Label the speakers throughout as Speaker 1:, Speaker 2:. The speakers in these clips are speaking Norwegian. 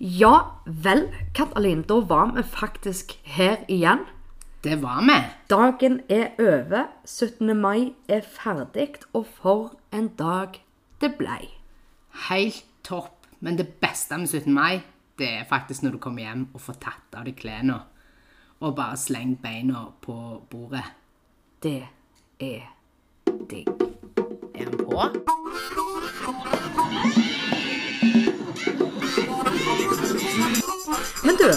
Speaker 1: Ja vel, Katalin, da var vi faktisk her igjen.
Speaker 2: Det var vi.
Speaker 1: Dagen er over, 17. mai er ferdig, og for en dag det blei.
Speaker 2: Helt topp. Men det beste med 17. mai, det er faktisk når du kommer hjem og får tatt av deg klærne. Og bare slengt beina på bordet.
Speaker 1: Det er digg.
Speaker 2: Er han på?
Speaker 1: Men du,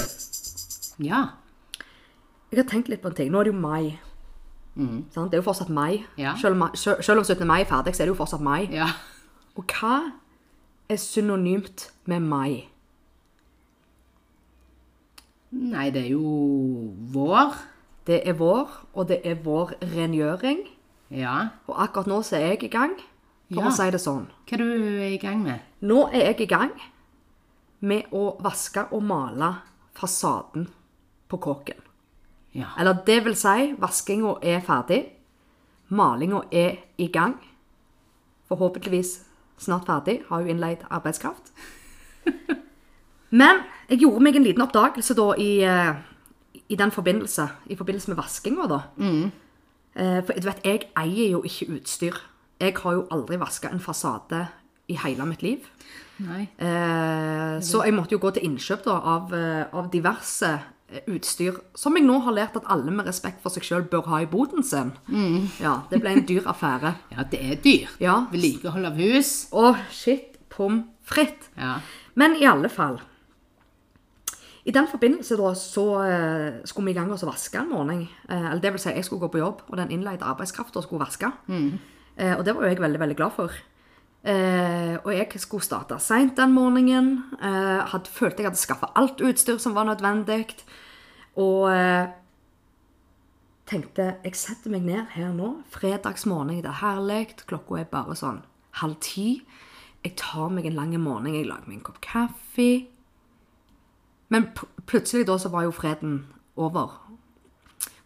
Speaker 2: Ja.
Speaker 1: jeg har tenkt litt på en ting. Nå er det jo mai. Sant? Det er jo fortsatt mai.
Speaker 2: Mm. Ja.
Speaker 1: Selv, om, sjø- selv om 17. mai er ferdig, så er det jo fortsatt mai.
Speaker 2: Ja.
Speaker 1: Og hva er synonymt med mai?
Speaker 2: Nei, det er jo vår.
Speaker 1: Det er vår, og det er vår rengjøring.
Speaker 2: Ja.
Speaker 1: Og akkurat nå så er jeg i gang, for
Speaker 2: Ja.
Speaker 1: å si det sånn.
Speaker 2: Hva er du i gang med?
Speaker 1: Nå er jeg i gang med å vaske og male fasaden på kåken.
Speaker 2: Ja.
Speaker 1: Eller det vil si, vaskinga er ferdig. Malinga er i gang. Forhåpentligvis snart ferdig. Har jo innleid arbeidskraft. Men jeg gjorde meg en liten oppdagelse da i, eh, i den forbindelse. I forbindelse med vaskinga, da. Eh, For du vet, jeg eier jo ikke utstyr. Jeg har jo aldri vaska en fasade i hele mitt liv.
Speaker 2: Nei.
Speaker 1: Eh, så jeg måtte jo gå til innkjøp da, av, eh, av diverse eh, utstyr, som jeg nå har lært at alle med respekt for seg sjøl bør ha i boden sin. Ja, det ble en dyr affære.
Speaker 2: Ja, det er dyrt.
Speaker 1: Ja.
Speaker 2: Vedlikehold av hus.
Speaker 1: Å, shit pom fritt.
Speaker 2: Ja.
Speaker 1: Men i alle fall I den forbindelse da, så eh, skulle vi i gang og så vaske en morgen. Eh, eller det vil si, jeg skulle gå på jobb, og den innleide arbeidskrafta skulle vaske. Eh, og det var jo jeg veldig, veldig glad for. Eh, og jeg skulle starte seint den morgenen. Eh, hadde, følte jeg hadde skaffa alt utstyr som var nødvendig. Og eh, tenkte jeg setter meg ned her nå. Fredagsmorgen, det er herlig. Klokka er bare sånn halv ti. Jeg tar meg en lang morgen, jeg lager meg en kopp kaffe. Men pl plutselig da så var jo freden over.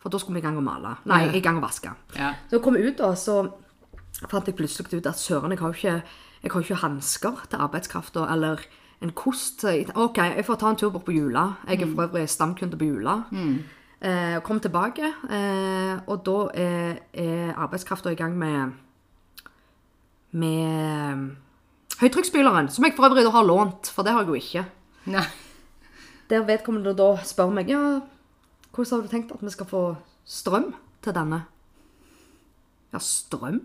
Speaker 1: For da skulle vi i gang og male. Nei, i gang og vaske.
Speaker 2: Ja.
Speaker 1: Så jeg kom ut da, så fant jeg plutselig ut at søren, jeg har jo ikke, jeg har jo ikke hansker til arbeidskrafta, eller en kost. til- Ok, jeg får ta en tur bort på Jula. Jeg er for øvrig stamkunde på Jula. Eh, kom tilbake, eh, og da er, er arbeidskrafta i gang med, med eh, høytrykksspyleren, som jeg for øvrig da har lånt, for det har jeg jo ikke.
Speaker 2: Nei.
Speaker 1: Der vedkommende da spør meg ja, hvordan har du tenkt at vi skal få strøm til denne? Ja, strøm?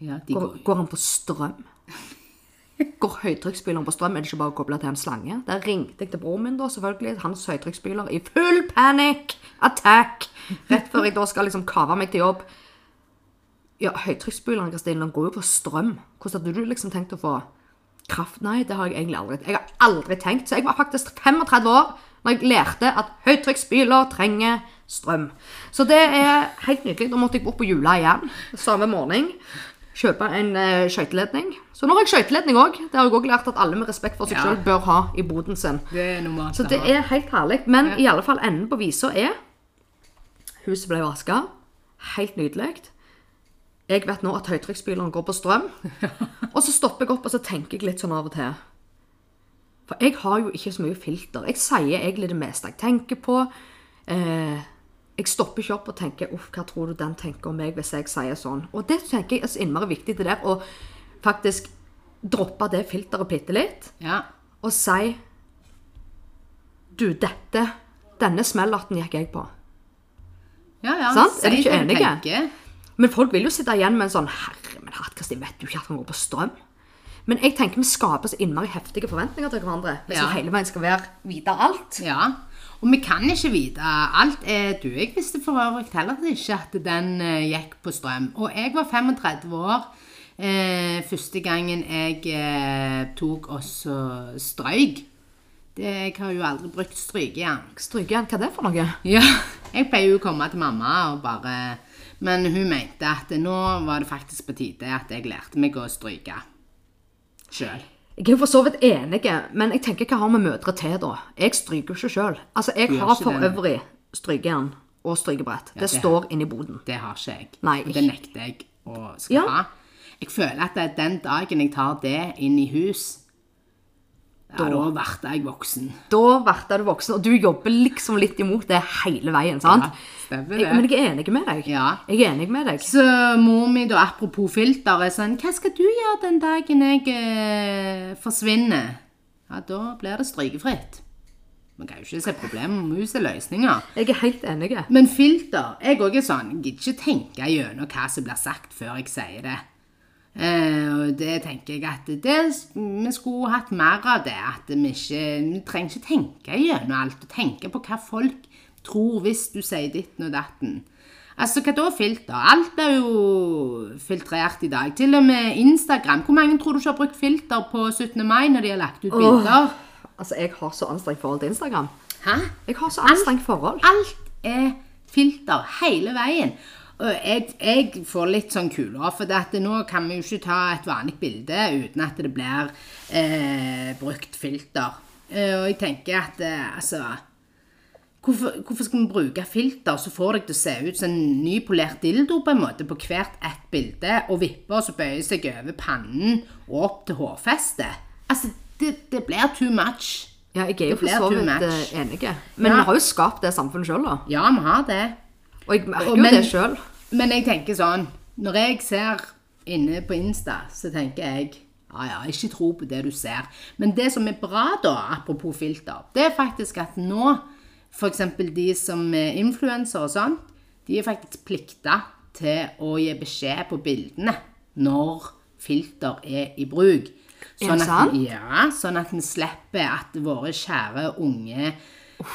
Speaker 2: Ja, de
Speaker 1: Går,
Speaker 2: går.
Speaker 1: går han på strøm? Går høytrykksspyleren på strøm? Er det ikke bare å koble til en slange? Der ringte jeg til broren min, da, selvfølgelig. Hans høytrykksspyler i full panic attack! Rett før jeg da skal liksom kave meg til jobb. Ja, høytrykksspyleren, Kristine, den går jo på strøm. Hvordan hadde du liksom tenkt å få kraft? Nei, det har jeg egentlig aldri Jeg har aldri tenkt. Så jeg var faktisk 35 år når jeg lærte at høytrykksspyler trenger strøm. Så det er helt nydelig. Da måtte jeg bort på Jula igjen samme morgen. Kjøpe en uh, skøyteledning. Så nå har jeg skøyteledning òg. Det har jeg òg lært at alle med respekt for seg
Speaker 2: Ja.
Speaker 1: selv sjøl bør ha i boden sin.
Speaker 2: Det er normalt.
Speaker 1: Så
Speaker 2: å
Speaker 1: det
Speaker 2: ha.
Speaker 1: er helt herlig. Men i alle fall enden på visa er Huset ble vaska. Helt nydelig. Jeg vet nå at høytrykksspyleren går på strøm. Og så stopper jeg opp og så tenker jeg litt sånn av og til. For jeg har jo ikke så mye filter. Jeg sier egentlig det meste jeg tenker på. Eh, jeg stopper ikke opp og tenker uff, hva tror du den tenker om meg hvis jeg sier sånn. Og det tenker jeg er så innmari viktig det der å faktisk droppe det filteret bitte litt
Speaker 2: Ja.
Speaker 1: og si Du, dette Denne smellerten gikk jeg på.
Speaker 2: Ja, ja.
Speaker 1: Sant? Er de
Speaker 2: si
Speaker 1: ikke
Speaker 2: hva du
Speaker 1: enige?
Speaker 2: tenker.
Speaker 1: Men folk vil jo sitte igjen med en sånn Herre min hatt, Kristin, vet du ikke at han går på strøm? Men jeg tenker vi skaper så innmari heftige forventninger til hverandre. Hvis
Speaker 2: Ja.
Speaker 1: vi hele veien skal være vite alt.
Speaker 2: Ja, og vi kan ikke vite alt. Eh, Du, jeg visste for øvrig heller ikke at den eh, gikk på strøm. Og jeg var 35 år eh, første gangen jeg eh, tok også strøyk. Det, jeg har jo aldri brukt strykejern.
Speaker 1: Strykejern, hva er det for noe?
Speaker 2: Ja, jeg pleier jo å komme til mamma og bare Men hun mente at nå var det faktisk på tide at jeg lærte meg å stryke sjøl.
Speaker 1: Jeg er jo for så vidt enig, men jeg tenker hva har vi mødre til, da? Jeg stryker jo ikke sjøl. Altså, jeg
Speaker 2: Du gjør
Speaker 1: har
Speaker 2: ikke
Speaker 1: for
Speaker 2: det.
Speaker 1: øvrig strykejern og strykebrett. det,
Speaker 2: det-
Speaker 1: står inni boden.
Speaker 2: Det har ikke jeg.
Speaker 1: Nei.
Speaker 2: Og det nekter jeg å skal
Speaker 1: Ja.
Speaker 2: ha. Jeg føler at det er den dagen jeg tar det inn i hus, Ja, da ble jeg voksen.
Speaker 1: Da ble du voksen, og du jobber liksom litt imot det hele veien, sant?
Speaker 2: Ja, stemmer
Speaker 1: Jeg, Eh, men
Speaker 2: det.
Speaker 1: jeg er enig med deg.
Speaker 2: Ja.
Speaker 1: Jeg er enig med deg.
Speaker 2: Så mor mi, da, apropos filter, er sånn Hva skal du gjøre den dagen jeg eh, forsvinner? Ja, da blir det strykefritt. Man kan jo ikke se problemer, man må jo se løsninger.
Speaker 1: Jeg er helt enig.
Speaker 2: Men filter Jeg òg er sånn jeg Gidder ikke tenke gjennom hva som blir sagt før jeg sier det. Eh, og det tenker jeg at det, Vi skulle hatt mer av det. At vi ikke Vi trenger ikke tenke gjennom alt. og Tenke på hva folk tror hvis du sier ditten og datten. Altså, hva da filter? Alt er jo filtrert i dag. Til og med Instagram. Hvor mange tror du ikke har brukt filter på 17. mai når de har lagt ut bilder?
Speaker 1: Altså, jeg har så anstrengt forhold til Instagram.
Speaker 2: Hæ?
Speaker 1: Jeg har så anstrengt forhold.
Speaker 2: Alt er filter hele veien. Og jeg, jeg får litt sånn kula, for det at nå kan vi jo ikke ta et vanlig bilde uten at det blir eh, brukt filter. Eh, og jeg tenker at eh, altså hvorfor, hvorfor skal vi bruke filter som får deg til å se ut som en nypolert dildo på en måte på hvert ett bilde, og vipper som bøyer seg over pannen og opp til hårfestet? Altså, det, det blir too much.
Speaker 1: Ja, jeg er jo
Speaker 2: Det
Speaker 1: for
Speaker 2: blir
Speaker 1: så
Speaker 2: too
Speaker 1: vidt
Speaker 2: much.
Speaker 1: eh, enig. Men
Speaker 2: Ja.
Speaker 1: vi har jo skapt det samfunnet sjøl, da.
Speaker 2: Ja, vi har det.
Speaker 1: Og jeg merker
Speaker 2: Og-
Speaker 1: jo
Speaker 2: men-
Speaker 1: det sjøl.
Speaker 2: Men jeg tenker sånn Når jeg ser inne på Insta, så tenker jeg ja, ja, ikke tro på det du ser. Men det som er bra, da, apropos filter, det er faktisk at nå f.eks. de som er influensere og sånn, de er faktisk plikta til å gi beskjed på bildene når filter er i bruk.
Speaker 1: det
Speaker 2: Sånn at,
Speaker 1: sant?
Speaker 2: ja, sånn at vi slipper at våre kjære unge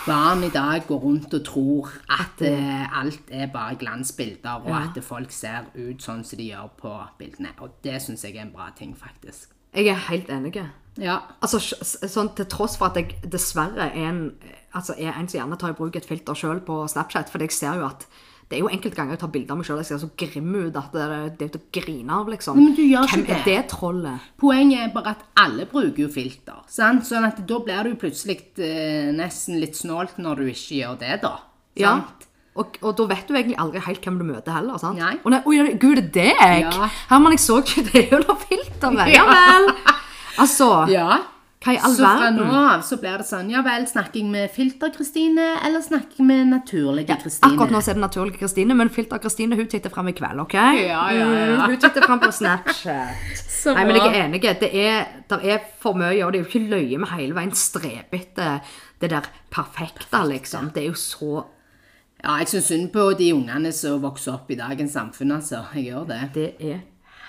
Speaker 2: barn i dag går rundt og tror at eh, alt er bare glansbilder, og at folk ser ut sånn som de gjør på bildene. Og det syns jeg er en bra ting, faktisk.
Speaker 1: Jeg er helt enig.
Speaker 2: Ja.
Speaker 1: Altså, sj- s- sånn, til tross for at jeg dessverre er en, altså, er en som gjerne tar i bruk et filter sjøl på Snapchat, for jeg ser jo at det er jo enkelte ganger jeg tar bilder av meg sjøl jeg ser så grim ut at det, det er til å grine av, liksom.
Speaker 2: Men du gjør ikke
Speaker 1: Hvem
Speaker 2: det.
Speaker 1: er det trollet?
Speaker 2: Poenget er bare at alle bruker jo filter, sant? sånn at da blir du plutselig eh, nesten litt snålt når du ikke gjør det, da.
Speaker 1: Ja.
Speaker 2: Sant?
Speaker 1: Og, og da vet du egentlig aldri helt hvem du møter heller. sant?
Speaker 2: Nei.
Speaker 1: Å nei, oi, er det- gud, er det jeg?
Speaker 2: Ja.
Speaker 1: Herman, jeg så ikke det under filteret. Ja
Speaker 2: Ja.
Speaker 1: vel. Altså,
Speaker 2: ja.
Speaker 1: hva i all
Speaker 2: Så fra nå
Speaker 1: verden?
Speaker 2: av så blir det sånn Ja vel, snakker jeg med filter-Kristine, eller snakker jeg med naturlige Kristine?
Speaker 1: Akkurat nå så er det naturlig Kristine, men filter-Kristine hun titter fram i kveld, OK?
Speaker 2: Ja, ja, ja.
Speaker 1: Mm, hun titter fram på Snapchat.
Speaker 2: Så
Speaker 1: Nei, men jeg
Speaker 2: bra.
Speaker 1: er enig. Det er, der er for mye, og det er jo ikke løye med hele veien strebe etter det der perfekte, liksom. Det er jo så
Speaker 2: Ja, jeg syns synd på de ungene som vokser opp i dagens samfunn, altså. Jeg gjør det.
Speaker 1: Det er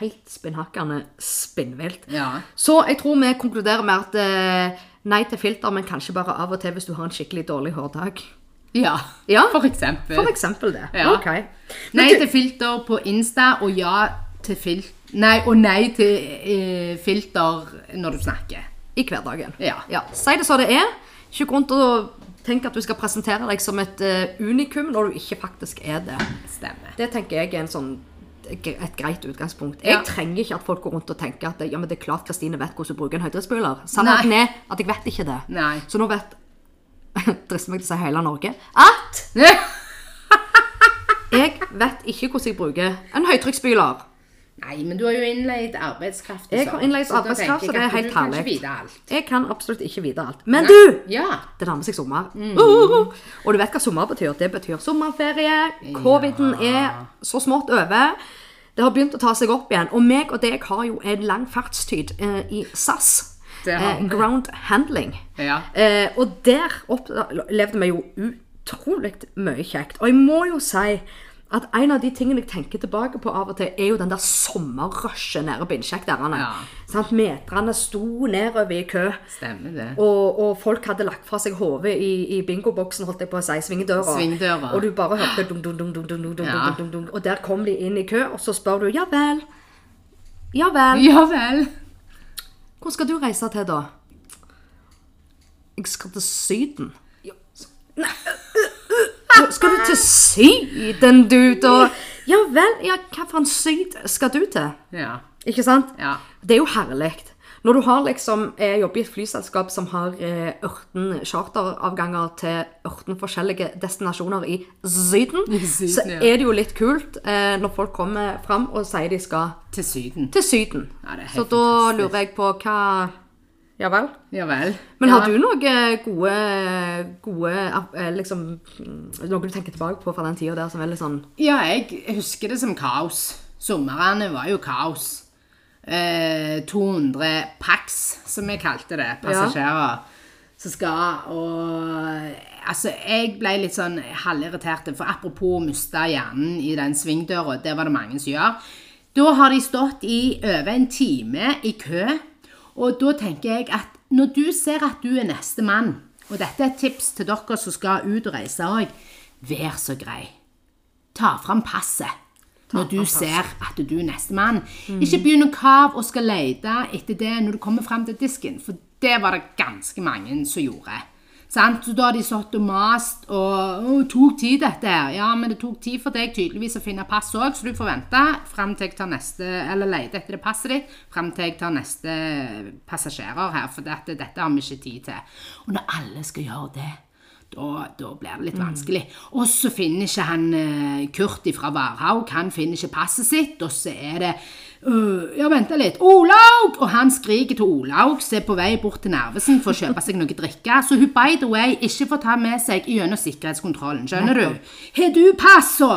Speaker 1: helt spinnhakkende spinnvilt.
Speaker 2: Ja.
Speaker 1: Så jeg tror vi konkluderer med at eh, nei til filter, men kanskje bare av og til hvis du har en skikkelig dårlig hårdag.
Speaker 2: Ja,
Speaker 1: Ja.
Speaker 2: for eksempel.
Speaker 1: For eksempel det.
Speaker 2: Ja.
Speaker 1: Ok. Men
Speaker 2: Nei
Speaker 1: du-
Speaker 2: til filter på Insta, og ja til fil... Nei, og nei til eh, filter når du snakker.
Speaker 1: I hverdagen.
Speaker 2: Ja.
Speaker 1: Si det som det er. Ikke gå rundt og tenk at du skal presentere deg som et eh, unikum når du ikke faktisk er det.
Speaker 2: Stemmer.
Speaker 1: Det tenker jeg er en sånn et greit utgangspunkt. Jeg
Speaker 2: Ja.
Speaker 1: trenger ikke at folk går rundt og tenker at ja, men det er klart Kristine vet hvordan hun bruker en høydespyler. Sannheten er at jeg vet ikke det.
Speaker 2: Nei.
Speaker 1: Så nå vet Drister meg til å si hele Norge at jeg vet ikke hvordan jeg bruker en høytrykksspyler.
Speaker 2: Nei, men du har jo innleid arbeidskraft. og
Speaker 1: Jeg
Speaker 2: sånn,
Speaker 1: har innleid
Speaker 2: så da
Speaker 1: arbeidskraft,
Speaker 2: tenker
Speaker 1: så det er
Speaker 2: jeg at
Speaker 1: helt
Speaker 2: Du kan ikke
Speaker 1: herlig.
Speaker 2: vite alt.
Speaker 1: Jeg kan absolutt ikke vite alt. Men du!
Speaker 2: Ja.
Speaker 1: Det nærmer seg sommer.
Speaker 2: Mm.
Speaker 1: Uh, og du vet hva sommer betyr. Det betyr sommerferie. Coviden er så smått over. Det har begynt å ta seg opp igjen. Og meg og deg har jo en lang fartstid eh, i SAS.
Speaker 2: Det har
Speaker 1: Eh,
Speaker 2: vi.
Speaker 1: ground handling.
Speaker 2: Ja.
Speaker 1: Eh, og der opplevde vi jo utrolig mye kjekt. Og jeg må jo si at en av de tingene jeg tenker tilbake på av og til, er jo den der sommerrushet nede på Innsjekk der. Anne.
Speaker 2: Ja.
Speaker 1: Sant? Meterne sto nedover i kø.
Speaker 2: Stemmer det.
Speaker 1: Og, og folk hadde lagt fra seg hodet i, i bingoboksen, holdt jeg på å si, svingdøra.
Speaker 2: Svingdøra.
Speaker 1: Og du bare hørte dum, dum, dum, dum, dum, dum, dum,
Speaker 2: Ja.
Speaker 1: dum, dum, dum, Og der kom de inn i kø, og så spør du ja vel. Ja vel.
Speaker 2: Ja vel.
Speaker 1: Hvor skal du reise til, da? Jeg skal til Syden. Ja, så- Nei, øh, øh, øh, Skal du til Syden, du, da? Ja vel. Ja, hva for en syd skal du til?
Speaker 2: Ja.
Speaker 1: Ikke sant?
Speaker 2: Ja.
Speaker 1: Det er jo herlig. Når du har liksom, eh, jobber i et flyselskap som har eh, 18 charteravganger til 18 forskjellige destinasjoner i Syden,
Speaker 2: I Syden,
Speaker 1: så
Speaker 2: ja.
Speaker 1: er det jo litt kult eh, når folk kommer fram og sier de skal
Speaker 2: Til Syden.
Speaker 1: til Syden.
Speaker 2: Ja, det er helt
Speaker 1: så da
Speaker 2: fantastisk.
Speaker 1: lurer jeg på hva Ja vel.
Speaker 2: Ja vel.
Speaker 1: Men
Speaker 2: Ja.
Speaker 1: har du noen gode, gode eh, liksom, Noe du tenker tilbake på fra den tida der som er litt sånn
Speaker 2: Ja, jeg husker det som kaos. Sommerene var jo kaos. Eh, 200 pax, som jeg kalte det, passasjerer, som skal og Altså, jeg ble litt sånn halvirritert, for apropos å miste hjernen i den svingdøra, det var det mange som gjør. Da har de stått i over en time i kø, og da tenker jeg at når du ser at du er neste mann, og dette er et tips til dere som skal ut og reise òg, vær så grei ta fram passet når du ser at du er nestemann. Ikke begynn å kave og skal lete etter det når du kommer fram til disken, for det var det ganske mange som gjorde. Sant? Så da har de stått og mast og «Å, tok tid dette her. Ja, men det tok tid for deg tydeligvis å finne pass òg, så du får vente fram til jeg tar neste Eller lete etter det passet ditt fram til jeg tar neste passasjerer her, for dette, dette har vi ikke tid til. Og når alle skal gjøre det, da, da blir det litt vanskelig. Og så finner ikke han eh, Kurt fra Varhaug, han finner ikke passet sitt, og så er det «Øh, Ja, vent litt. Olaug! Og han skriker til Olaug, som er på vei bort til Narvesen for å kjøpe seg noe drikke. Så hun by the way ikke får ta med seg gjennom sikkerhetskontrollen. Skjønner du? Har du pass, så?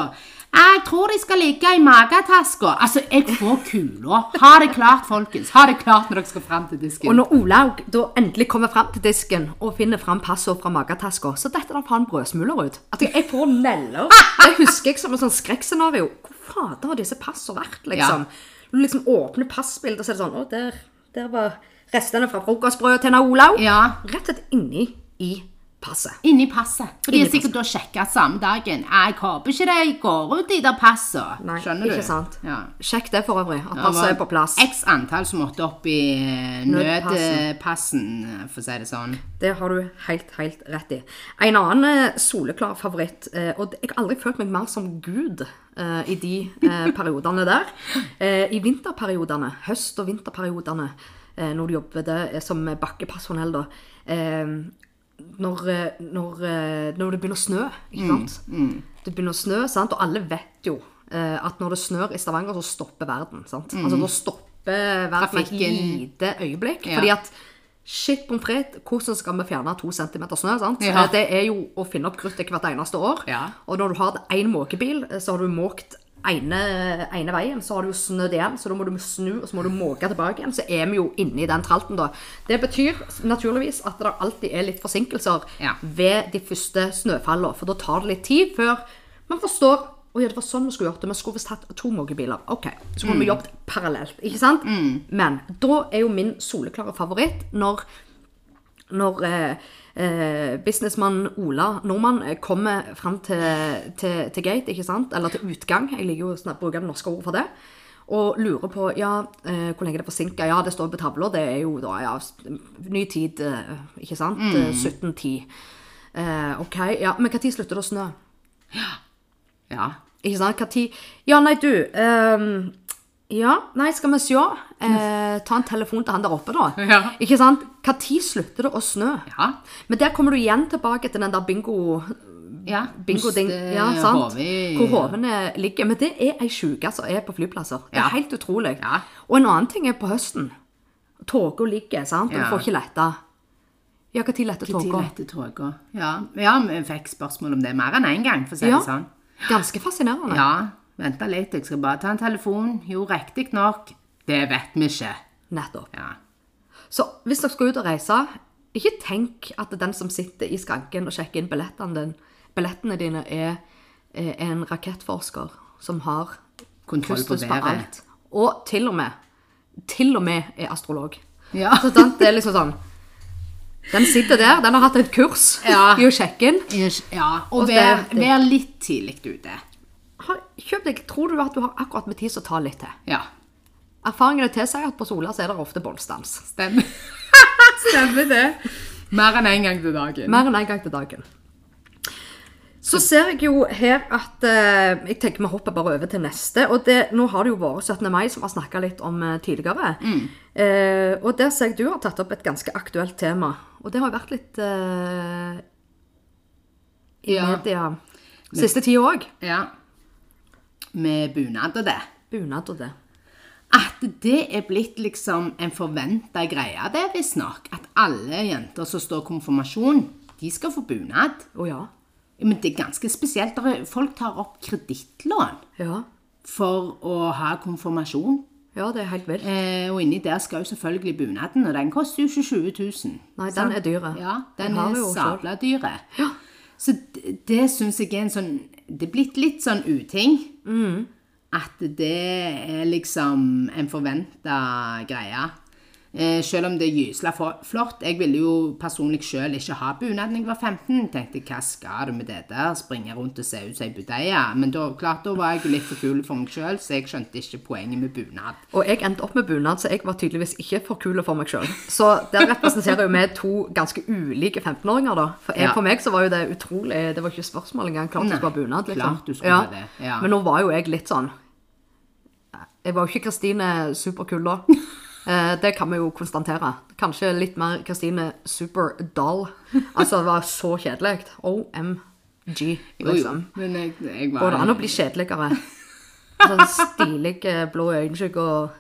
Speaker 2: Jeg tror de skal ligge i magetaska. Altså, jeg får kula. Ha det klart, folkens. Ha det klart når dere skal fram til disken.
Speaker 1: Og når Olaug da endelig kommer fram til disken og finner fram passord fra magetaska, så detter det faen brødsmuler ut. At jeg, jeg får neller. Det husker jeg som et sånn skrekkscenario. Hvor fader har disse passene vært, liksom? Du liksom åpner passbildet, og så er det sånn Å, der, der var restene fra frokostbrødet til en Olaug.
Speaker 2: Ja.
Speaker 1: Rett og slett inni i passet.
Speaker 2: Inni passet. For de
Speaker 1: Inni
Speaker 2: er sikkert da sjekka samme dagen. Jeg håper ikke de går ut de der passene.
Speaker 1: Nei,
Speaker 2: Skjønner du?
Speaker 1: ikke sant.
Speaker 2: Ja.
Speaker 1: Sjekk det for øvrig, at
Speaker 2: Det
Speaker 1: passet
Speaker 2: var
Speaker 1: er på plass.
Speaker 2: X antall som måtte opp i eh,
Speaker 1: Nødpassen.
Speaker 2: nødpassen, eh, for å si det sånn.
Speaker 1: Det har du helt, helt rett i. En annen eh, soleklar favoritt, eh, og jeg har aldri følt meg mer som Gud eh, i de eh, periodene der. Eh, I vinterperiodene, høst- og vinterperiodene, eh, når du jobber det, eh, som bakkepersonell, da. Eh, når, eh, når, eh, når det begynner å snø, ikke sant? Det begynner å snø, sant? og alle vet jo eh, at når det snør i Stavanger, så stopper verden. sant? Altså, da stopper verden et
Speaker 2: Trafikken.
Speaker 1: lite øyeblikk.
Speaker 2: Ja.
Speaker 1: fordi at Shit pommes frites, hvordan skal vi fjerne to centimeter snø? sant?
Speaker 2: Ja.
Speaker 1: Eh, Det er jo å finne opp kruttet hvert eneste år.
Speaker 2: Ja.
Speaker 1: Og når du har én måkebil, eh, så har du måkt ene, ene veien, så har du jo snødd igjen, så da må du snu, og så må du måke tilbake igjen. Så er vi jo inne i den tralten, da. Det betyr naturligvis at det alltid er litt forsinkelser
Speaker 2: Ja.
Speaker 1: ved de første snøfallene, for da tar det litt tid før man forstår å ja, det var sånn vi skulle gjort det. Vi skulle visst hatt to måkebiler. Ok, Så kunne vi jobbet parallelt. ikke sant? Men da er jo min soleklare favoritt når når eh, eh, businessmann Ola Nordmann eh, kommer fram til, til, til gate, ikke sant? eller til utgang, jeg liker jo å snak- bruke det norske ordet for det, og lurer på ja, eh, hvor lenge det er forsinket. Ja, det står på tavla, det er jo da ja, s- ny tid, eh, ikke sant? Eh, 17.10. Eh, ok, ja, men hva tid slutter det å snø?
Speaker 2: Ja.
Speaker 1: Ikke sant? Hva tid? Ja, nei, du ehm, Ja, nei, skal vi se. Eh, ta en telefon til han der oppe, da.
Speaker 2: Ja.
Speaker 1: Ikke sant? Hva tid slutter det å snø?
Speaker 2: Ja.
Speaker 1: Men der kommer du igjen tilbake til den der bingo...
Speaker 2: ja. eh,
Speaker 1: Bingo-ding,
Speaker 2: Moste-
Speaker 1: ja, sant?
Speaker 2: Håvi.
Speaker 1: Hvor hovene ligger. Men det er ei sjuke som er på flyplasser. Det er
Speaker 2: Ja.
Speaker 1: helt utrolig.
Speaker 2: Ja.
Speaker 1: Og en annen ting er på høsten. Tåka ligger, sant? Og
Speaker 2: Ja.
Speaker 1: du får ikke letta. Ja, når letter
Speaker 2: Til
Speaker 1: tåka?
Speaker 2: lette tåka. Ja. ja, vi fikk spørsmål om det mer enn én en gang, for å si det
Speaker 1: Ja.
Speaker 2: sånn.
Speaker 1: Ganske fascinerende.
Speaker 2: Ja, venta litt, jeg skal bare ta en telefon. Jo, riktig nok. Det vet vi ikke.
Speaker 1: Nettopp.
Speaker 2: Ja.
Speaker 1: Så hvis dere skal ut og reise, ikke tenk at den som sitter i skranken og sjekker inn billettene, din, billettene dine, er, er en rakettforsker som har
Speaker 2: Kontroll på
Speaker 1: kustus på
Speaker 2: været.
Speaker 1: alt. Og til og med, til og med er astrolog.
Speaker 2: Ja.
Speaker 1: Så sant, det er liksom sånn, den sitter der, den har hatt et kurs
Speaker 2: Ja.
Speaker 1: i å sjekke inn.
Speaker 2: Ish, Ja, og
Speaker 1: Og
Speaker 2: vær,
Speaker 1: det-
Speaker 2: vær litt tidlig ute.
Speaker 1: Ha- Kjøp deg, tror du at du har akkurat med tid, så ta litt til.
Speaker 2: Ja,
Speaker 1: Erfaringene tilsier at på sola så er det ofte båndstans.
Speaker 2: stemmer. stemmer det. Mer enn én gang til dagen.
Speaker 1: Mer enn én gang til dagen. Så ser jeg jo her at eh, Jeg tenker vi hopper bare over til neste. Og det, nå har det jo vært 17. mai, som vi har snakka litt om eh, tidligere. Eh, og der ser jeg du har tatt opp et ganske aktuelt tema. Og det har jo vært litt eh, i
Speaker 2: Ja.
Speaker 1: media siste tida òg.
Speaker 2: Ja. Med bunad og det.
Speaker 1: Bunad og det.
Speaker 2: At det er blitt liksom en forventa greie, det er visstnok. At alle jenter som står konfirmasjon, de skal få bunad.
Speaker 1: Å ja.
Speaker 2: Ja, Men det er ganske spesielt. Der er- Folk tar opp kredittlån
Speaker 1: ja.
Speaker 2: for å ha konfirmasjon.
Speaker 1: Ja, det er helt vilt.
Speaker 2: Eh, og inni der skal jo selvfølgelig bunaden, og den koster jo ikke 20 000.
Speaker 1: Nei, den
Speaker 2: sant?
Speaker 1: er dyre.
Speaker 2: Ja,
Speaker 1: Den
Speaker 2: den
Speaker 1: har
Speaker 2: er
Speaker 1: vi jo selv.
Speaker 2: sabla dyre. Så det, det syns jeg er en sånn Det er blitt litt sånn uting.
Speaker 1: Mm.
Speaker 2: At det er liksom en forventa greie. Eh, selv om det er gysla for- flott. Jeg ville jo personlig sjøl ikke ha bunad da jeg var 15. Tenkte hva skal du med det der? Springe rundt og se ut som ei budeie? Men da, klart, da var jeg jo litt for kul for meg sjøl, så jeg skjønte ikke poenget med bunad.
Speaker 1: Og jeg endte opp med bunad, så jeg var tydeligvis ikke for kul for meg sjøl. Så der representerer jo vi to ganske ulike 15-åringer, da. For, jeg,
Speaker 2: Ja.
Speaker 1: for meg så var jo det utrolig Det var ikke spørsmål engang. Klart du
Speaker 2: Nei,
Speaker 1: skulle ha bunad. Liksom.
Speaker 2: klart du skulle ha det, ja.
Speaker 1: Men nå var jo jeg litt sånn Jeg var jo ikke Kristine superkul da. Eh, det kan vi jo konstatere. Kanskje litt mer Kristine superdull. Altså, det var så kjedelig. OMG,
Speaker 2: Jo, jo.
Speaker 1: liksom.
Speaker 2: Men jeg, jeg var
Speaker 1: Går det an å bli kjedeligere? Sånn stilig eh, blå øyenskygge og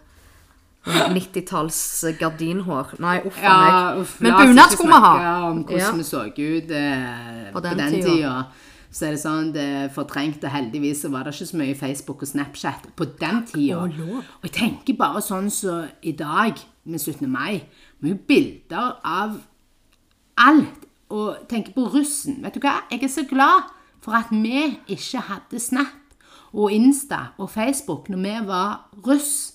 Speaker 1: 90-talls gardinhår. Nei, uff a
Speaker 2: Ja,
Speaker 1: meg.
Speaker 2: uff,
Speaker 1: Men
Speaker 2: la oss
Speaker 1: bunad
Speaker 2: ikke
Speaker 1: skulle vi ha.
Speaker 2: snakke om hvordan
Speaker 1: Ja.
Speaker 2: vi så ut eh, på
Speaker 1: den
Speaker 2: den,
Speaker 1: tida.
Speaker 2: tida. Så er det sånn, det er fortrengt, og heldigvis så var det ikke så mye Facebook og Snapchat på den tida.
Speaker 1: og lov.
Speaker 2: Og jeg tenker bare sånn som i dag, med 17. mai, mye bilder av alt. Og tenker på russen. Vet du hva? Jeg er så glad for at vi ikke hadde Snap og Insta og Facebook når vi var russ.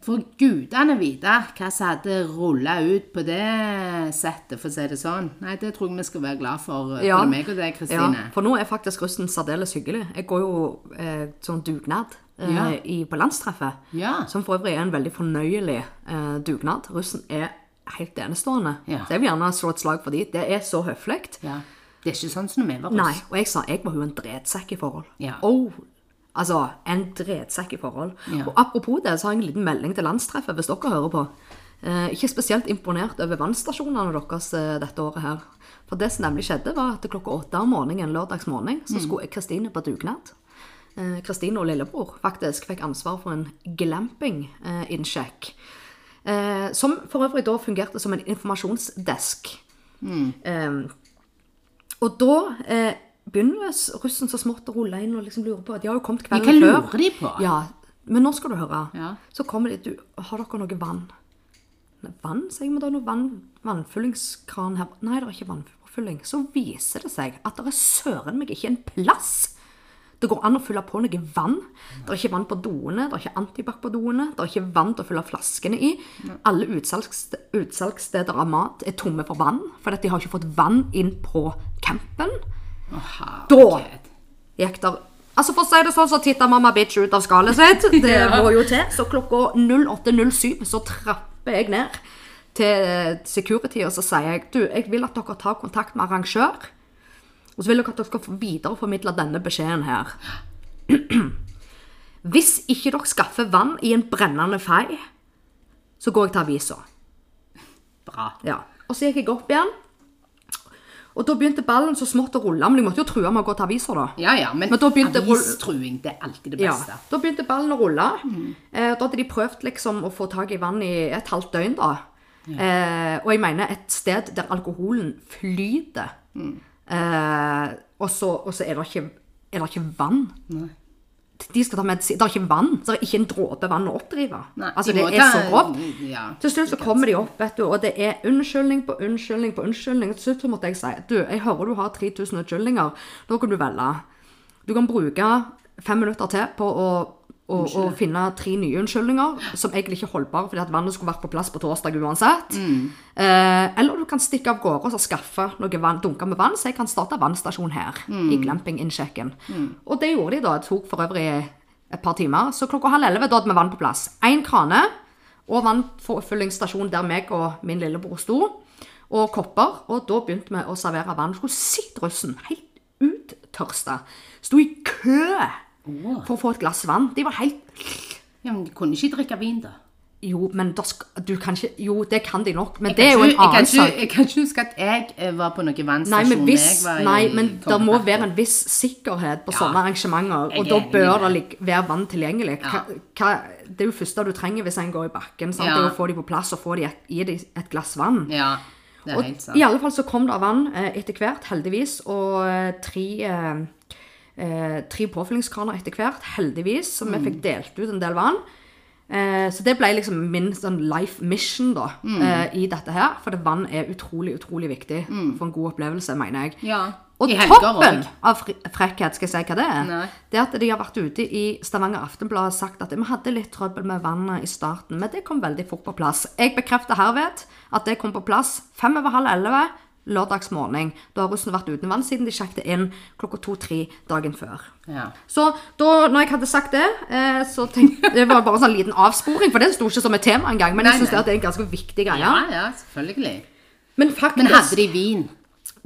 Speaker 2: For gudene vite hva som hadde rulla ut på det settet, for å si det sånn. Nei, det tror jeg vi skal være glad for,
Speaker 1: Ja.
Speaker 2: både meg og deg, Kristine.
Speaker 1: Ja, for nå er faktisk russen særdeles hyggelig. Jeg går jo eh, sånn dugnad eh,
Speaker 2: Ja.
Speaker 1: i, på landstreffet.
Speaker 2: Ja.
Speaker 1: Som for øvrig er en veldig fornøyelig eh, dugnad. Russen er helt enestående.
Speaker 2: Ja.
Speaker 1: Så jeg vil gjerne slå et slag for de. Det er så høflig.
Speaker 2: Ja. Det er ikke sånn som når vi var russ.
Speaker 1: Nei, og jeg sa jeg var jo en dredsekk i forhold.
Speaker 2: Ja.
Speaker 1: Oh, altså, en dredsekk i forhold.
Speaker 2: Ja.
Speaker 1: Og apropos det, så har jeg en liten melding til landstreffet, hvis dere hører på. Eh, ikke spesielt imponert over vannstasjonene deres eh, dette året her. For det som nemlig skjedde, var at klokka åtte om morgenen, lørdags morgen,
Speaker 2: Mm.
Speaker 1: så skulle Kristine på dugnad. Eh, Kristine og lillebror faktisk fikk ansvar for en glamping-innsjekk. Eh, som for øvrig da fungerte som en informasjonsdesk.
Speaker 2: Mm.
Speaker 1: Eh, og da eh, begynner s- russen så smått å rulle inn og liksom lure på. De har jo kommet
Speaker 2: Men
Speaker 1: kvelden
Speaker 2: hva
Speaker 1: før.
Speaker 2: lurer de på?
Speaker 1: Ja, men nå skal du høre.
Speaker 2: Ja.
Speaker 1: Så kommer de, du, har dere noe vann? Nei, Vann, sier jeg, men det er noe vann, vannfyllingskran her. Nei, det er ikke vannfylling. Så viser det seg at det er søren meg ikke en plass. Det går an å fylle på noe vann. Det er ikke vann på doene, det er ikke antibac på doene, det er ikke vann til å fylle flaskene i. Alle utsalgsste- utsalgssteder av mat er tomme for vann, fordi at de har ikke fått vann inn på campen. Da
Speaker 2: Herregud.
Speaker 1: gikk der Altså For å si det sånn, så titta mamma bitch ut av skallet sitt. Det må jo til. Så klokka 08.07 så trapper jeg ned til security og så sier jeg, du, jeg vil at dere tar kontakt med arrangør. Og så vil jeg at dere skal videreformidle denne beskjeden her. Hvis ikke dere skaffer vann i en brennende fei, så går jeg til avisa.
Speaker 2: Bra.
Speaker 1: Ja. Og så gikk jeg opp igjen. Og da begynte ballen så smått å rulle. Men jeg måtte jo true med å gå til avisa, da.
Speaker 2: Ja ja, men,
Speaker 1: Men da begynte-
Speaker 2: avistruing, det er alltid det beste. Mm.
Speaker 1: Ja, da begynte ballen å rulle. Eh, da hadde de prøvd liksom å få tak i vann i et halvt døgn, da. Eh, og jeg mener et sted der alkoholen flyter,
Speaker 2: Mm.
Speaker 1: eh, og, så, og så er det ikke, er det ikke vann.
Speaker 2: Nei.
Speaker 1: De skal ta med, det er ikke vann, så det er ikke en dråpe vann å oppdrive.
Speaker 2: Nei,
Speaker 1: altså,
Speaker 2: de
Speaker 1: det
Speaker 2: må
Speaker 1: er
Speaker 2: ta-
Speaker 1: så grovt.
Speaker 2: Ja.
Speaker 1: Til slutt så kommer de opp, vet du, og det er unnskyldning på unnskyldning på unnskyldning. Til slutt så måtte jeg si du, jeg hører du har 3000 unnskyldninger. Nå kan du velge. Du kan bruke fem minutter til på å, å, å finne tre nye unnskyldninger som egentlig ikke er holdbare, fordi at vannet skulle vært på plass på torsdag uansett. Eh, eller du kan stikke av gårde og så skaffe noe vann, dunker med vann, så jeg kan starte vannstasjon her. I glamping-innsjekken. Og det gjorde de da. Det tok for øvrig et par timer. Så klokka halv elleve da hadde vi vann på plass. Én krane og vannforfyllingsstasjon der meg og min lillebror sto, og kopper. Og da begynte vi å servere vann. Rositrussen, helt uttørsta, sto i kø for å få et glass vann. De var helt
Speaker 2: Ja, men de kunne ikke drikke vin, da.
Speaker 1: Jo, men der sk- du kan ikke Jo, det kan de nok, men
Speaker 2: Jeg
Speaker 1: det er
Speaker 2: kan
Speaker 1: jo en
Speaker 2: ikke- jeg kan
Speaker 1: annen
Speaker 2: ikke-
Speaker 1: sak.
Speaker 2: Jeg kan ikke huske at jeg eh, var på noen
Speaker 1: Nei,
Speaker 2: vannstasjon.
Speaker 1: men,
Speaker 2: da
Speaker 1: hvis,
Speaker 2: jeg var i
Speaker 1: nei, men det må
Speaker 2: Kongeparken.
Speaker 1: være en viss sikkerhet på sånne arrangementer.
Speaker 2: Jeg
Speaker 1: Og
Speaker 2: er
Speaker 1: da
Speaker 2: enig i
Speaker 1: bør det
Speaker 2: det.
Speaker 1: lik- være vann tilgjengelig. Hva,
Speaker 2: Ja.
Speaker 1: hva, det er jo første du trenger hvis en går i bakken. Sant?
Speaker 2: Ja.
Speaker 1: Det er å få dem på plass og få dem et, gi dem et glass vann.
Speaker 2: Ja, det er
Speaker 1: Og
Speaker 2: helt sant.
Speaker 1: I alle fall så kom det vann eh, etter hvert, heldigvis, og eh, tre, eh, eh, tre påfyllingskraner etter hvert, heldigvis, så
Speaker 2: Mm.
Speaker 1: vi fikk delt ut en del vann. Eh, så det ble liksom min sånn life mission da,
Speaker 2: Mm.
Speaker 1: eh, i dette her, for det vann er utrolig, utrolig viktig
Speaker 2: Mm.
Speaker 1: for en god opplevelse, mener jeg.
Speaker 2: Ja.
Speaker 1: Og
Speaker 2: I helger
Speaker 1: toppen
Speaker 2: også.
Speaker 1: av fre- frekkhet, skal jeg si hva det er,
Speaker 2: Nei.
Speaker 1: det er at de har vært ute i Stavanger Aftenblad og sagt at vi hadde litt trøbbel med vannet i starten, men det kom veldig fort på plass. Jeg bekrefter herved at det kom på plass fem over halv elleve lørdags morgen. Da har russen vært uten vann siden de sjekket inn klokka to-tre dagen før.
Speaker 2: Ja.
Speaker 1: Så da når jeg hadde sagt det, eh, så tenkte Det var bare en sånn liten avsporing, for det sto ikke som et tema engang. Men
Speaker 2: Nei,
Speaker 1: jeg syns
Speaker 2: nei.
Speaker 1: det er en ganske viktig greie.
Speaker 2: ja, ja, selvfølgelig.
Speaker 1: Men faktisk
Speaker 2: Men hadde de vin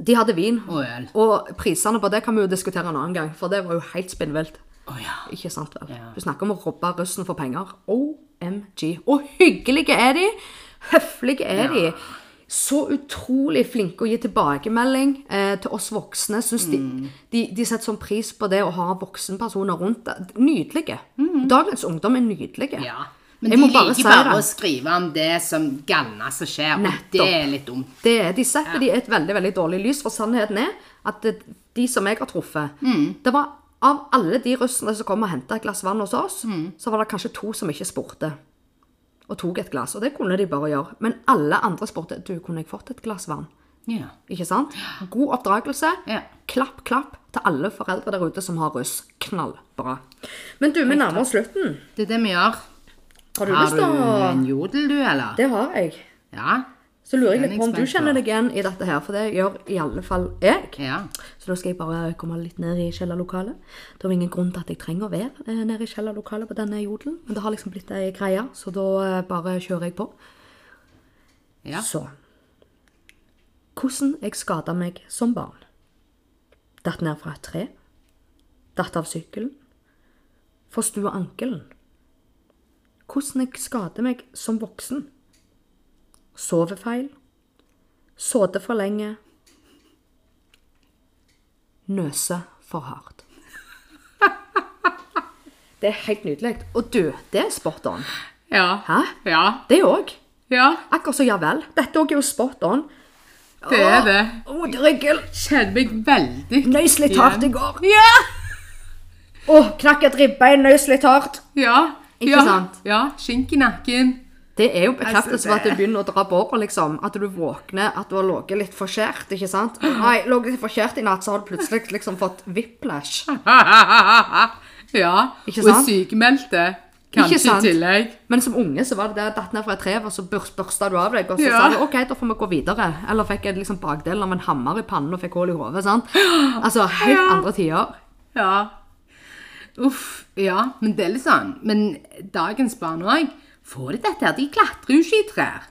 Speaker 1: de hadde vin.
Speaker 2: og øl?
Speaker 1: Og prisene på det kan vi jo diskutere en annen gang, for det var jo helt spinnvilt.
Speaker 2: Å ja.
Speaker 1: Ikke sant vel?
Speaker 2: Ja.
Speaker 1: Du snakker om å robbe russen for penger. OMG. Og hyggelige er de! Høflige er
Speaker 2: Ja.
Speaker 1: de! Så utrolig flinke å gi tilbakemelding eh, til oss voksne. Synes
Speaker 2: Mm.
Speaker 1: de, de, de setter sånn pris på det å ha voksenpersoner rundt. deg. Nydelige. Dagens ungdom er nydelige.
Speaker 2: ja. Men
Speaker 1: Jeg
Speaker 2: de
Speaker 1: må bare
Speaker 2: liker
Speaker 1: si
Speaker 2: bare
Speaker 1: det.
Speaker 2: å skrive om det som galna som skjer,
Speaker 1: Nettopp.
Speaker 2: og det er litt dumt.
Speaker 1: Det er, de setter de i et veldig veldig dårlig lys, for sannheten er at det, de som jeg har truffet
Speaker 2: Mm.
Speaker 1: Det var av alle de russerne som kom og henta et glass vann hos oss,
Speaker 2: Mm.
Speaker 1: så var det kanskje to som ikke spurte. Og tok et glass. Og det kunne de bare gjøre. Men alle andre spurte du, kunne jeg fått et glass vann.
Speaker 2: Ja.
Speaker 1: Ikke sant? God oppdragelse.
Speaker 2: Ja.
Speaker 1: Klapp, klapp til alle foreldre der ute som har russ. Knallbra. Men du, vi nærmer oss slutten.
Speaker 2: Det er det vi gjør.
Speaker 1: Har du
Speaker 2: Har
Speaker 1: lyst
Speaker 2: du
Speaker 1: til å
Speaker 2: en jodel, du, eller?
Speaker 1: Det har jeg.
Speaker 2: Ja.
Speaker 1: Så lurer jeg
Speaker 2: Den er
Speaker 1: litt på om du
Speaker 2: jeg spent på.
Speaker 1: kjenner deg igjen i dette her, for det gjør i alle fall jeg.
Speaker 2: ja.
Speaker 1: Så da skal jeg bare komme litt ned i kjellerlokalet. Det er jo ingen grunn til at jeg trenger å være eh, nede i kjellerlokalet på denne jodelen, men det har liksom blitt ei greie, så da eh, bare kjører jeg på.
Speaker 2: Ja.
Speaker 1: Så Hvordan jeg skada meg som barn. Datt ned fra et tre. Datt av sykkelen. Forstua ankelen. Hvordan jeg skader meg som voksen. Sovefeil. Sådde for lenge. Nøse for hardt. Det er helt nydelig. Og du, det er spot on.
Speaker 2: Ja.
Speaker 1: Hæ?
Speaker 2: Ja.
Speaker 1: Det òg.
Speaker 2: Ja.
Speaker 1: Akkurat som ja vel. Dette òg er jo spot on.
Speaker 2: Det er det.
Speaker 1: Å, ryggen!
Speaker 2: Kjenner meg veldig
Speaker 1: Nøys litt
Speaker 2: igjen.
Speaker 1: hardt i går.
Speaker 2: Ja!
Speaker 1: Å, knakk et ribbein, nøys litt hardt.
Speaker 2: Ja.
Speaker 1: Ikke
Speaker 2: ja.
Speaker 1: sant?
Speaker 2: Ja. Skink i nakken.
Speaker 1: Det er jo bekreftelse
Speaker 2: Altså,
Speaker 1: på at
Speaker 2: det-
Speaker 1: det begynner å dra båret, liksom. At du våkner, at du har ligget litt for skjært, ikke sant. Nei, ligget litt for skjært i natt, så har du plutselig liksom fått whiplash.
Speaker 2: ja.
Speaker 1: Ikke
Speaker 2: Og
Speaker 1: sant?
Speaker 2: sykemeldte.
Speaker 1: Ikke
Speaker 2: Kanskje i
Speaker 1: sant?
Speaker 2: tillegg.
Speaker 1: Men som unge så var det det datt ned fra et tre, og så børs, børsta du av deg, og så
Speaker 2: Ja.
Speaker 1: sa du OK, da får vi gå videre. Eller fikk jeg liksom bakdelen av en hammer i pannen og fikk hull i hodet, sant. Altså helt
Speaker 2: Ja.
Speaker 1: andre tider.
Speaker 2: Ja. Uff. Ja, men det er litt sånn. Men dagens barn òg får de dette her. De klatrer jo ikke i trær.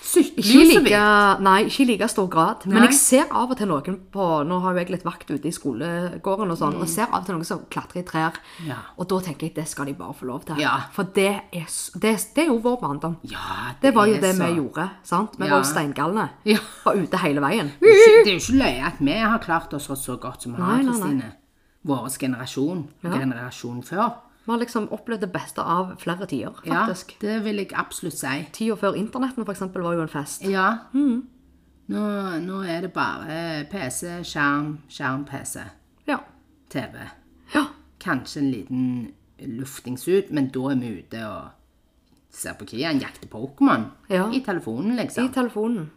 Speaker 2: Sykler
Speaker 1: Ikke
Speaker 2: jo
Speaker 1: i like,
Speaker 2: så vidt.
Speaker 1: nei, ikke i like stor grad. Men
Speaker 2: Nei.
Speaker 1: jeg ser av og til noen på Nå har jo jeg litt vakt ute i skolegården og sånn, og ser av og til noen som klatrer i trær.
Speaker 2: Mm. Ja.
Speaker 1: Og da tenker jeg det skal de bare få lov til.
Speaker 2: Ja.
Speaker 1: For det er, s- det, er- det er jo vår barndom.
Speaker 2: Ja,
Speaker 1: Det var jo det
Speaker 2: så-
Speaker 1: vi gjorde. sant? Vi
Speaker 2: Ja.
Speaker 1: var jo steingalne.
Speaker 2: Ja.
Speaker 1: Var ute hele veien.
Speaker 2: Det er jo ikke- det er jo ikke løye at vi har klart oss så godt som vi har,
Speaker 1: Nei, nei, nei.
Speaker 2: Kristine. Vår generasjon. og Generasjonen før.
Speaker 1: Vi har liksom opplevd det beste av flere tider,
Speaker 2: Ja,
Speaker 1: faktisk.
Speaker 2: det vil jeg absolutt si.
Speaker 1: Tida før internetten for eksempel, var jo en fest.
Speaker 2: Ja.
Speaker 1: Mm.
Speaker 2: Nå, nå er det bare PC, skjerm, skjerm, PC,
Speaker 1: Ja.
Speaker 2: TV.
Speaker 1: ja.
Speaker 2: Kanskje en liten luftings ut, men da er vi ute og ser på Kian jakte Pokémon
Speaker 1: Ja.
Speaker 2: i telefonen,
Speaker 1: I
Speaker 2: liksom.
Speaker 1: telefonen.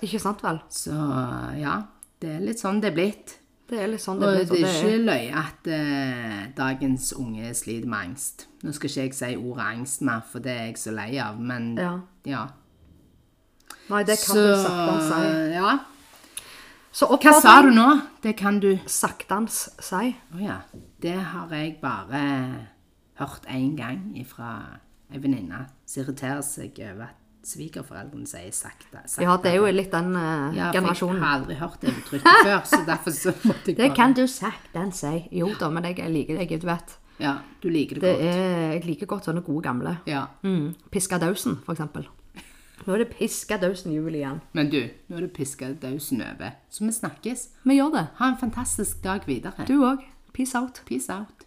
Speaker 1: Ikke sant vel?
Speaker 2: Så ja, det er litt sånn det er blitt.
Speaker 1: Det er litt sånn det
Speaker 2: Og
Speaker 1: blir.
Speaker 2: det
Speaker 1: så
Speaker 2: er ikke løye at eh, dagens unge sliter med angst. Nå skal ikke jeg si ordet angst mer, for det er jeg så lei av, men
Speaker 1: Ja.
Speaker 2: ja.
Speaker 1: Nei, det kan
Speaker 2: Så
Speaker 1: du saktens si.
Speaker 2: ja.
Speaker 1: Så
Speaker 2: Hva sa
Speaker 1: oppfordring
Speaker 2: du nå? Det kan du Å
Speaker 1: saktens si.
Speaker 2: ja. Det har jeg bare hørt én gang fra ei venninne som irriterer seg over at svigerforeldrene sier sakte. sakte.
Speaker 1: Ja, det er jo litt den eh,
Speaker 2: Ja, for Jeg
Speaker 1: generasjonen.
Speaker 2: har aldri hørt det uttrykket før, så derfor så måtte
Speaker 1: Det
Speaker 2: jeg bare
Speaker 1: kan du saktens si. Jo da, men jeg liker deg, du vet.
Speaker 2: Ja, du liker det,
Speaker 1: Det
Speaker 2: godt.
Speaker 1: er, jeg liker godt sånne gode gamle.
Speaker 2: Ja.
Speaker 1: Mm. Piskadausen, for eksempel. Nå er det piskadausen jul igjen.
Speaker 2: Men du, nå er det piska dausen over. Så vi snakkes.
Speaker 1: Vi gjør det.
Speaker 2: Ha en fantastisk dag videre.
Speaker 1: Du òg. Peace out.
Speaker 2: Peace out.